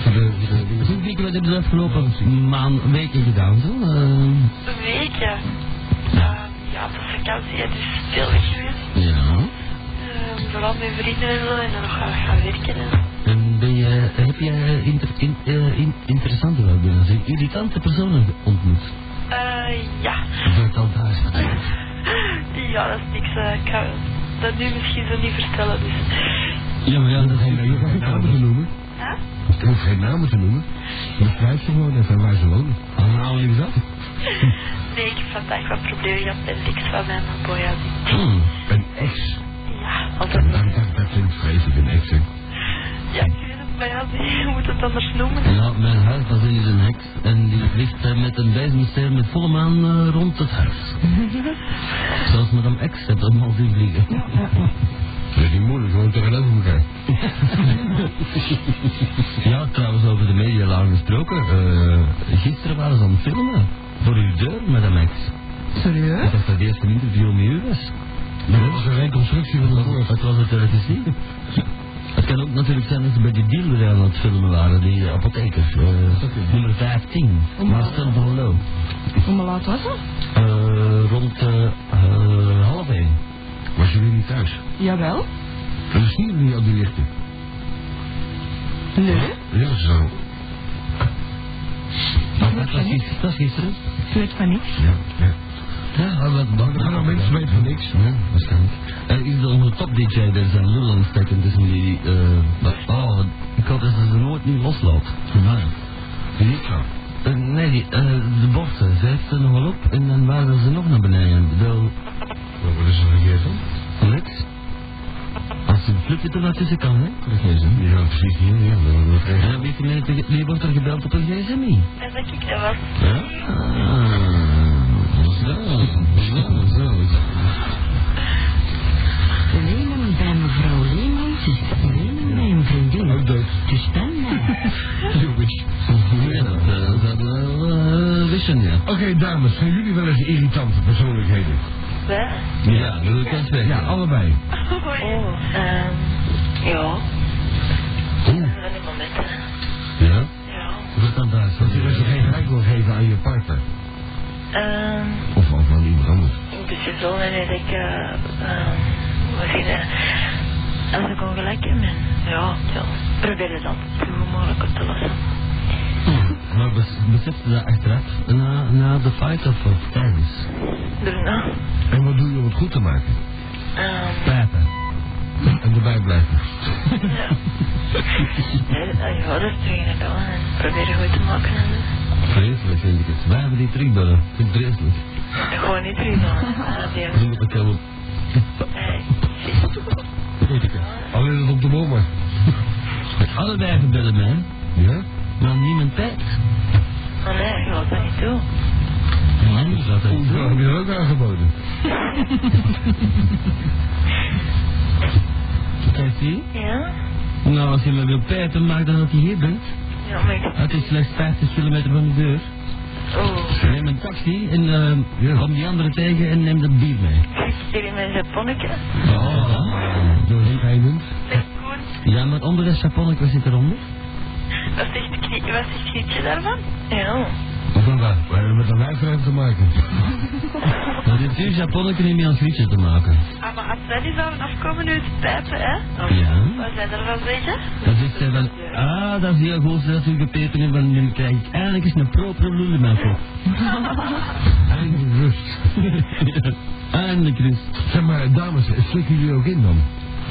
De, de, de- Goed, Dieke, wat hebben we de afgelopen maand, weken gedaan, zo? Eh, Een week, ja. Ehm, ja, op de vakantie, het is veel weg geweest. ja. Ehm, vooral met vrienden en zo, en dan nog gaan gaan werken en zo. En ben je, heb eh, je inter, in, eh, in, interessante, wel binnen, irritante personen eh, ontmoet? Eh, eh, ja. gebeurt al duizend. Ja, dat is niks. eh, ik kan dat nu misschien zo niet vertellen. Dus. Ja, maar ja, dat is Je hoeft geen namen te noemen. Huh? Je hoeft geen namen te noemen. Beschrijf ze gewoon even waar ze wonen. Allemaal lief Ah, nou, dat? Nee, ik heb vandaag wat problemen gehad met niks van mijn boya. Hmm, Een ex. Ja, Dat, altijd. dat, dat, dat klinkt vreselijk, een ex. hè. Ja, ik weet het, maar ja, je moet het anders noemen. Ja, mijn huis was in een heks en die vliegt eh, met een bezemster met volle maan eh, rond het huis. Zelfs madame X heeft hem al zien vliegen. Dat is niet moeilijk, gewoon tegenover elkaar. Ja, trouwens over de media lagen gesproken. eh, gisteren waren ze aan het filmen. Voor uw deur, madame X. Serieus? Dat was het eerste interview met u was. Maar dat is een reconstructie van de vorige. Wat was het eh, te zien? Het kan ook natuurlijk zijn dat ze bij die dealer aan het filmen waren, die eh, apotheker. eh, Nummer 15, Marcel van Loo. Hoe laat was dat? Eh, rond eh, eh, half één. Was jullie niet thuis? Jawel. Dat is niet jullie al die lichten. Nee. Ja, zo. Dat was, gis- dat was gisteren. Ik weet van niks. Ja, ja. Ja, wat Maar er gaan al mensen weten van niks. Ja, waarschijnlijk. Er Eh, is onze top-DJ, er zijn lul aan het steken tussen die... eh, wat- oh, wat- ik hoop dat ze ze nooit niet loslaat. Niet zo. Eh, nee, die, eh, de bochten, ze heeft ze nog wel op en dan waren ze nog naar beneden. Ik bedoel, Maar wat is er verkeerd dan? Lex, als ze een flipje er tussen kan, hè? Die gaan precies hier, ja. Dan wordt er Ja, wie, heeft er mee- wie wordt er gebeld op een gsm? -ie? En dat ik dat was. Ja? Ah, zo, zo, zo. Lenen bij mevrouw Leemans is lenen bij een vriendin. dood. Dus dan maar. Jongens. Ja, dat eh, zouden we wel eh, wissen, ja. Oké, dames, zijn jullie wel eens irritante persoonlijkheden? Hè? Ja, dat kan twee. Ja, allebei. Oh. Ehm, ja. Hoe? Dat zijn de momenten. Ja? Ja. Wat dan daar? Dat je dus geen gelijk wil geven aan je partner. Ehm, Of aan van iemand anders. een beetje zo, en dat ik, eh, ehm, eh, hoe zeg je dat? Als ik ongelijk heb, en ja, ja. Probeer het altijd zo goed mogelijk op te lossen. Maar bes- beseft je dat achteraf na, na de fight of of tijdens? Daarna, En wat doe je om het goed te maken? nou. ehm, Pijpen. En erbij blijven. nee, dat je ouders terug naar bellen en proberen goed te maken. En Vreselijk vind ik het. Wij hebben die terugbellen. Ik vind het vreselijk. eh, gewoon niet terug naar Ze moeten komen. Alleen dat op de bomen. Allebei gebellen mij, hè. Ja? maar niemand pijpt. Maar Ah, nee, ik wil dat niet doen. Man, is dat echt Dat zo? heb je er ook aangeboden. Kijk je? Ja? Nou, als je me wil pijpen, maak dan dat je hier bent. Ja, maar ik... Ah, Het is slechts 50 kilometer van de deur. Oeh. Neem een taxi en eh, Ja. kom die andere tegen en neem dat bier mee. Hier in mijn japonnetje. Oh. Doorheenend. Echt goed. Ja, maar onder de chaponnetje zit eronder. Wat zegt Knie- wat zegt Knietje daarvan? Ja. Of dan waar? We hebben met een wijfruim te maken. Dat heeft uw chaponnetje niet meer aan frietje te maken. Ah, maar als wij die zouden afkomen nu het pijpen, hè? Of- Ja. Wat zijn er van zeggen? Dan zegt hij van, ah, dat is heel goed dat u gepepen hebt, want dan krijg ik eindelijk eens een propere lul in mijn kop. Eindelijk rust. Eindelijk rust. Zeg maar, dames, slikken jullie ook in dan?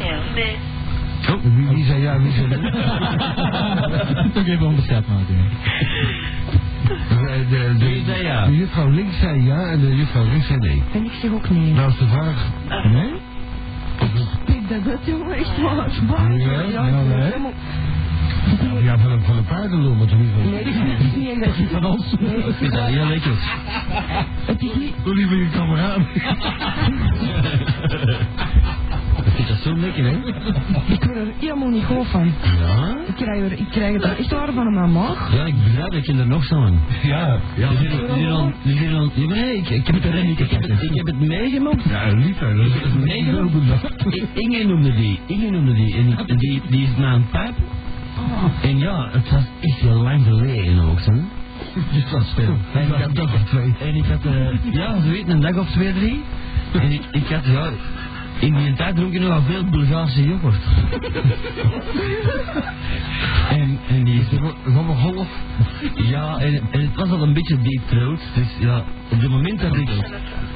Ja. Nee. Oh, Wie, wie zei ja, wie zei nee? Toch even onderscheid maken. De, de, Wie zei ja? de juffrouw links zei ja en de juffrouw rechts zei nee. En ik zeg ook nee. Nou is de vraag... Nee? Pik dat uit, jongen. Echt waar. Waar? Ja, ja, ik ben hè? helemaal- Ja, van een, van een paardenlul, maar toch niet van... Nee, dat is niet echt. van ons. Ik vind dat heel lekker. Het is niet... Liever je kameraad. Ik vind dat zo lekker, hè? Ik word er helemaal niet goed van. Ja? Ik krijg, er, ik krijg het er echt waar van in mijn maag. Ja, ik begrijp dat je er nog zo aan. Ja, ja. Je zit- je zit al- je zit al- Ja, maar nee, ik, ik heb het er niet. Ik heb het, ik heb het meegemaakt. Ja, een liter. Dat is een Nee, joh. open dag. I- Inge noemde die. Inge noemde die. En die, die, die is na een pijp. En ja, het was echt heel lang geleden ook, hè? Dus dat speel. En ik had Dag of twee. En ik had, eh, ja, ze weten, een dag of twee, drie. En ik, ik had, ja, in die tijd dronk ik nogal veel Bulgaarse yoghurt. en En die is... Van mijn golf. Ja, en, en het was al een beetje deep throat. Dus ja, op het moment dat ik...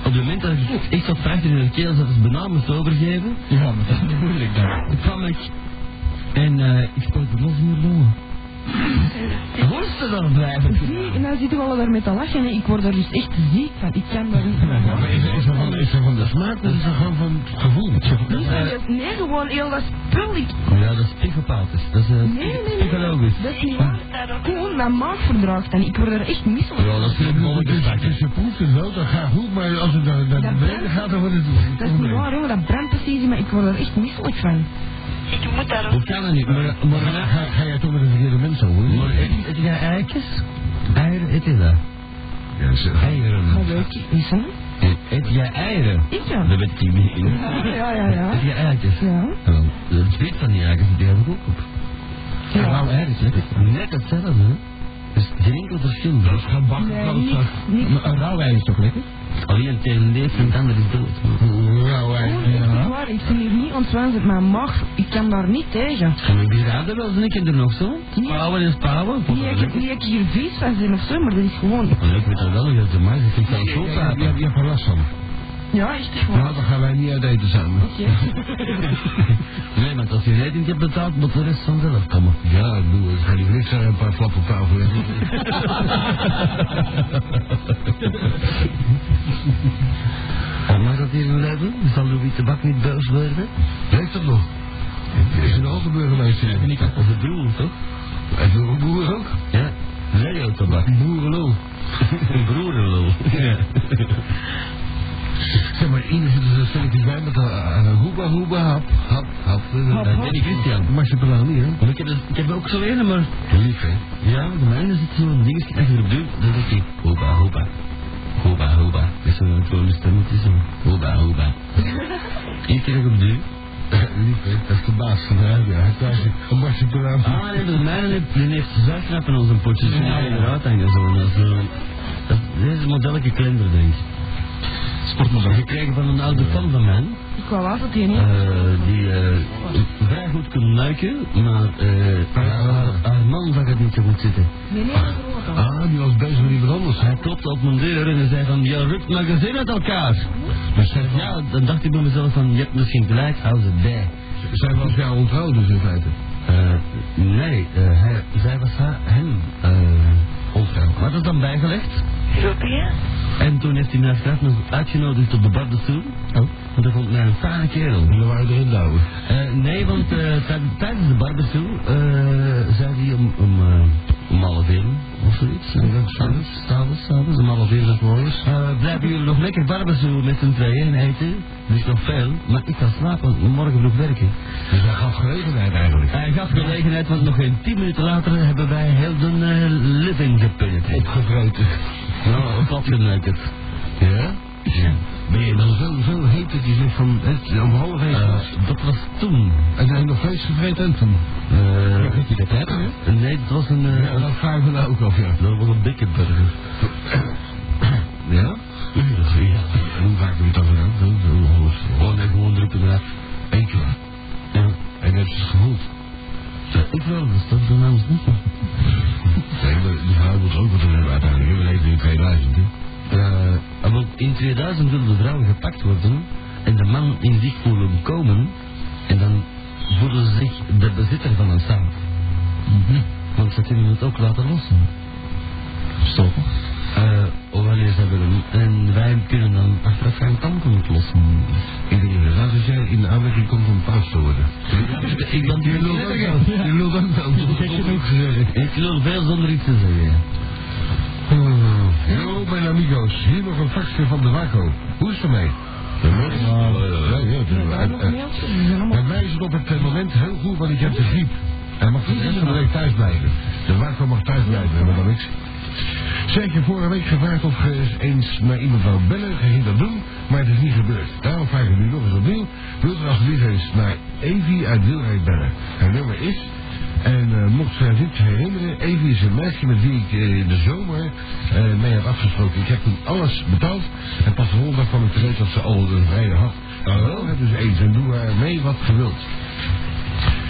Op het moment dat ik echt zat vijftien in de keel zat, dus bijna moest overgeven, Ja, maar dat is moeilijk dan. kwam ik... En eh, ik spoot de los in de longen. Hoort ze dan blijven? Zie, en dan zitten we al daar met te lachen. hè. Ik word er dus echt ziek van. Ik kan daar niet van. Ja, maar is, is, dat van, is dat van de smaak of is dat gewoon van het gevoel? Niet van je- Dus Nee, gewoon heel dat spul. Ik... Eh, Ja, dat is psychopathisch. Dat is eh, Nee, nee, nee. psychologisch. Dat is niet waar. Gewoon, mijn maag verdraagt en ik word er echt misselijk. Ja, dat is een mannetje Dus, dus je proeft het wel, dat gaat goed, maar als het naar, Dat naar beneden brandt. gaat, dan wordt het een Dat is niet probleem. waar, hoor. Dat brandt precies in, maar ik word er echt misselijk van. Ik moet daar ook Hoe kan dat niet? Maar, maar, Maar ga, ga jij toch met de verkeerde mensen hoor? maar eet eet jij eitjes? Eieren, eet je dat? Ja, zeg. Dat Eieren. weet ik niet, hè. Eet jij eieren? Ik ja. Dat weet ik niet. Ja, ja, ja. Eet jij eitjes? Ja. Wel, Het weet van die eitjes, die heb ik ook op. Rauw ei is lekker. Net hetzelfde, hè? Dus geen enkel verschil. Dat is gebakken Nee, niks, niks. Een rauw ei is toch lekker? Alleen het ene leeft en het andere is dood. Een rauw ei. Gewoon, echt niet Ja. waar. Ik ben hier niet ontwanzend. Mijn maag, ik kan daar niet tegen. En ik begrijp wel, zijn ik er nog zo? Spouwen en spouwen. Niet dat ik- niet dat ik hier vies van ben of zo, maar dat is gewoon... Maar ik weet dat wel, je hebt de maag, ik vind dat zo Ja, Je praten. hebt je hebt er last van. Ja, echt Nou, gewoon. dan gaan wij niet uit eten samen. Nee, maar als je rekening hebt betaald, moet de rest vanzelf komen. Ja, ik bedoel, ik ga niet voor niks zeggen, een paar flappen op tafel leggen. Wat mag dat hier in Leiden? Zal Louis Tabak niet boos worden? Leeft dat nog? Is er nog altijd burgemeester? En ik had onze broer, toch? En voor boeren ook? Ja. Radio Tabak. Boerenlul. Broerenlul. Ja. Zeg maar, ieder zit er zo stelletjes bij met een hoeba hoeba hap, hap, hap. eh, Hop, hop. Maar ze belangen niet, hè? Maar ik heb, er- ik heb er ook zo een, maar... Lief, hè? Ja, de mijne zit zo'n dingetje achter op deur. Dan denk ik, hoba, hoba. Hoba, hoba. Dat is zo'n gewone stemmetje zo. Hoba, hoba. Eén keer op deur. Lief, hè? Eh, Dat is de baas van de huid, ja. Hij is daar een marsipalaan. Ah, nee, de mijne heeft, die heeft zuigknappen als een potje. Dus ja, eruit hangen zo. Dat is, eh, dat dit is een modelletje klender, denk ik. Sportmodel. Gekregen van een oude fan van mij. Ik wou altijd hier niet. eh, die eh, vrij goed kon luiken, maar eh, haar, haar man zag het niet zo goed zitten. Nee, nee, dat is ook al. Ah, die was bezig met iemand anders. Hij klopte op mijn deur en hij zei van, je rukt mijn gezin uit elkaar. Dus Maar zij, Ja, dan dacht ik bij mezelf van, je hebt misschien gelijk, hou ze bij. zij was jou onthouden, dus in feite. Eh, nee, eh, hij, zij was haar, hem eh ontrouw. Maar dat is dan bijgelegd. Europeën. En toen heeft hij mij achteraf nog uitgenodigd op de bar de stoel. Oh. Want hij vond mij een fijne kerel. En dan waren we erin douwen. Eh, nee, want eh, tijd- tijdens de barbecue eh, zei hij om, om, eh, om half één of zoiets. eh, S'avonds, s'avonds, s'avonds, om half één of morgens. Eh, blijven jullie nog lekker barbecue met z'n tweeën en eten? Dus nog veel, maar ik ga slapen, want morgen vroeg werken. Dus hij gaf gelegenheid eigenlijk. Hij gaf gelegenheid, want nog geen tien minuten later hebben wij heel de eh, living gepenetreerd. Opgevreten. Nou, wat geneukt. Ja? Ja. Ben je dan zo, zo heet dat je zegt van, het, om half één Eh, was. dat was toen. En hij nog vlees gevreten en toen. Eh, Ja, je dat hebt, hè? nee, dat was een... eh, Ja, dat vragen we nou ook af, ja. dat was een dikke burger. Ja? Ja. En hoe vaak doe je dat dan? Zo, zo, zo. Gewoon nee, gewoon drukken eraf. Eén keer. Ja. En heb je het gevoeld? Ik wel, dat stond bij mij ons niet. Nee, maar die vrouw moet ook wat aan hebben uiteindelijk. We leven in 2000, hè? Eh, want in 2000 wilde de vrouwen gepakt worden en de man in zich voelen komen en dan voelen ze zich de bezitter van een zaak. Mhm. Want ze kunnen het ook laten lossen. Stop. Eh, wanneer ze willen. En wij kunnen dan achteraf gaan kampen met lossen. Ik denk inderdaad dat jij in de aanmerking komt om paus te worden. Ik ben Je lult ook wel. Je lult ook wel. Dat heb ik ook gezegd. Ik wil veel zonder iets te zeggen. Oh, Yo, mijn amigos. Hier nog een faxje van de Waco. Hoe is het ermee? De mens? Ja, ja, We hebben de- nog eh, eh, mailtjes, die zijn allemaal... Bij mij is het op het eh, moment heel goed, want ik heb de griep. Hij mag voor de rest van de week thuis blijven. De wachter mag thuis blijven, maar dan niks. Zeg je vorige week gevraagd of je eens- eens naar iemand wou bellen, je ging dat doen, maar het is niet gebeurd. Daarom vraag ik nu nog eens opnieuw. Wilt u alsjeblieft eens naar Evie uit Wilheid bellen? Haar nummer is, en eh, mocht zij zich herinneren, Evie is een meisje met wie ik eh, in de zomer eh, mee had afgesproken. Ik heb toen alles betaald en pas de volgende dag kwam ik te weten dat ze al een vrije had. Nou, wel, hè, dus eens en doe haar mee wat je wilt.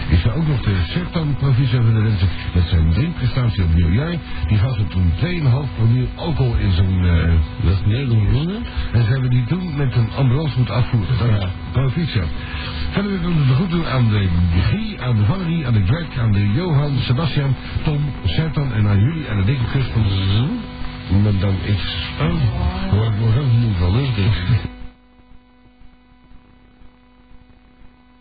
Ik zou ook nog tegen Sertan proficiat willen wensen met zijn drinkprestatie op nieuwjaar. Die gaf er toen 2,5 promil alcohol in zijn... eh, Dat is meer dan Ronde. en ze hebben die toen met een ambulance moeten afvoeren. Dat is proficiat. Verder wil ik het goed doen aan de Guy, aan de Valerie, aan de Greg, aan de Johan, Sebastian, Tom, Sertan en aan jullie. En een dikke kus van... Madame X. Oh, daar word ik nog heel moe van, hè?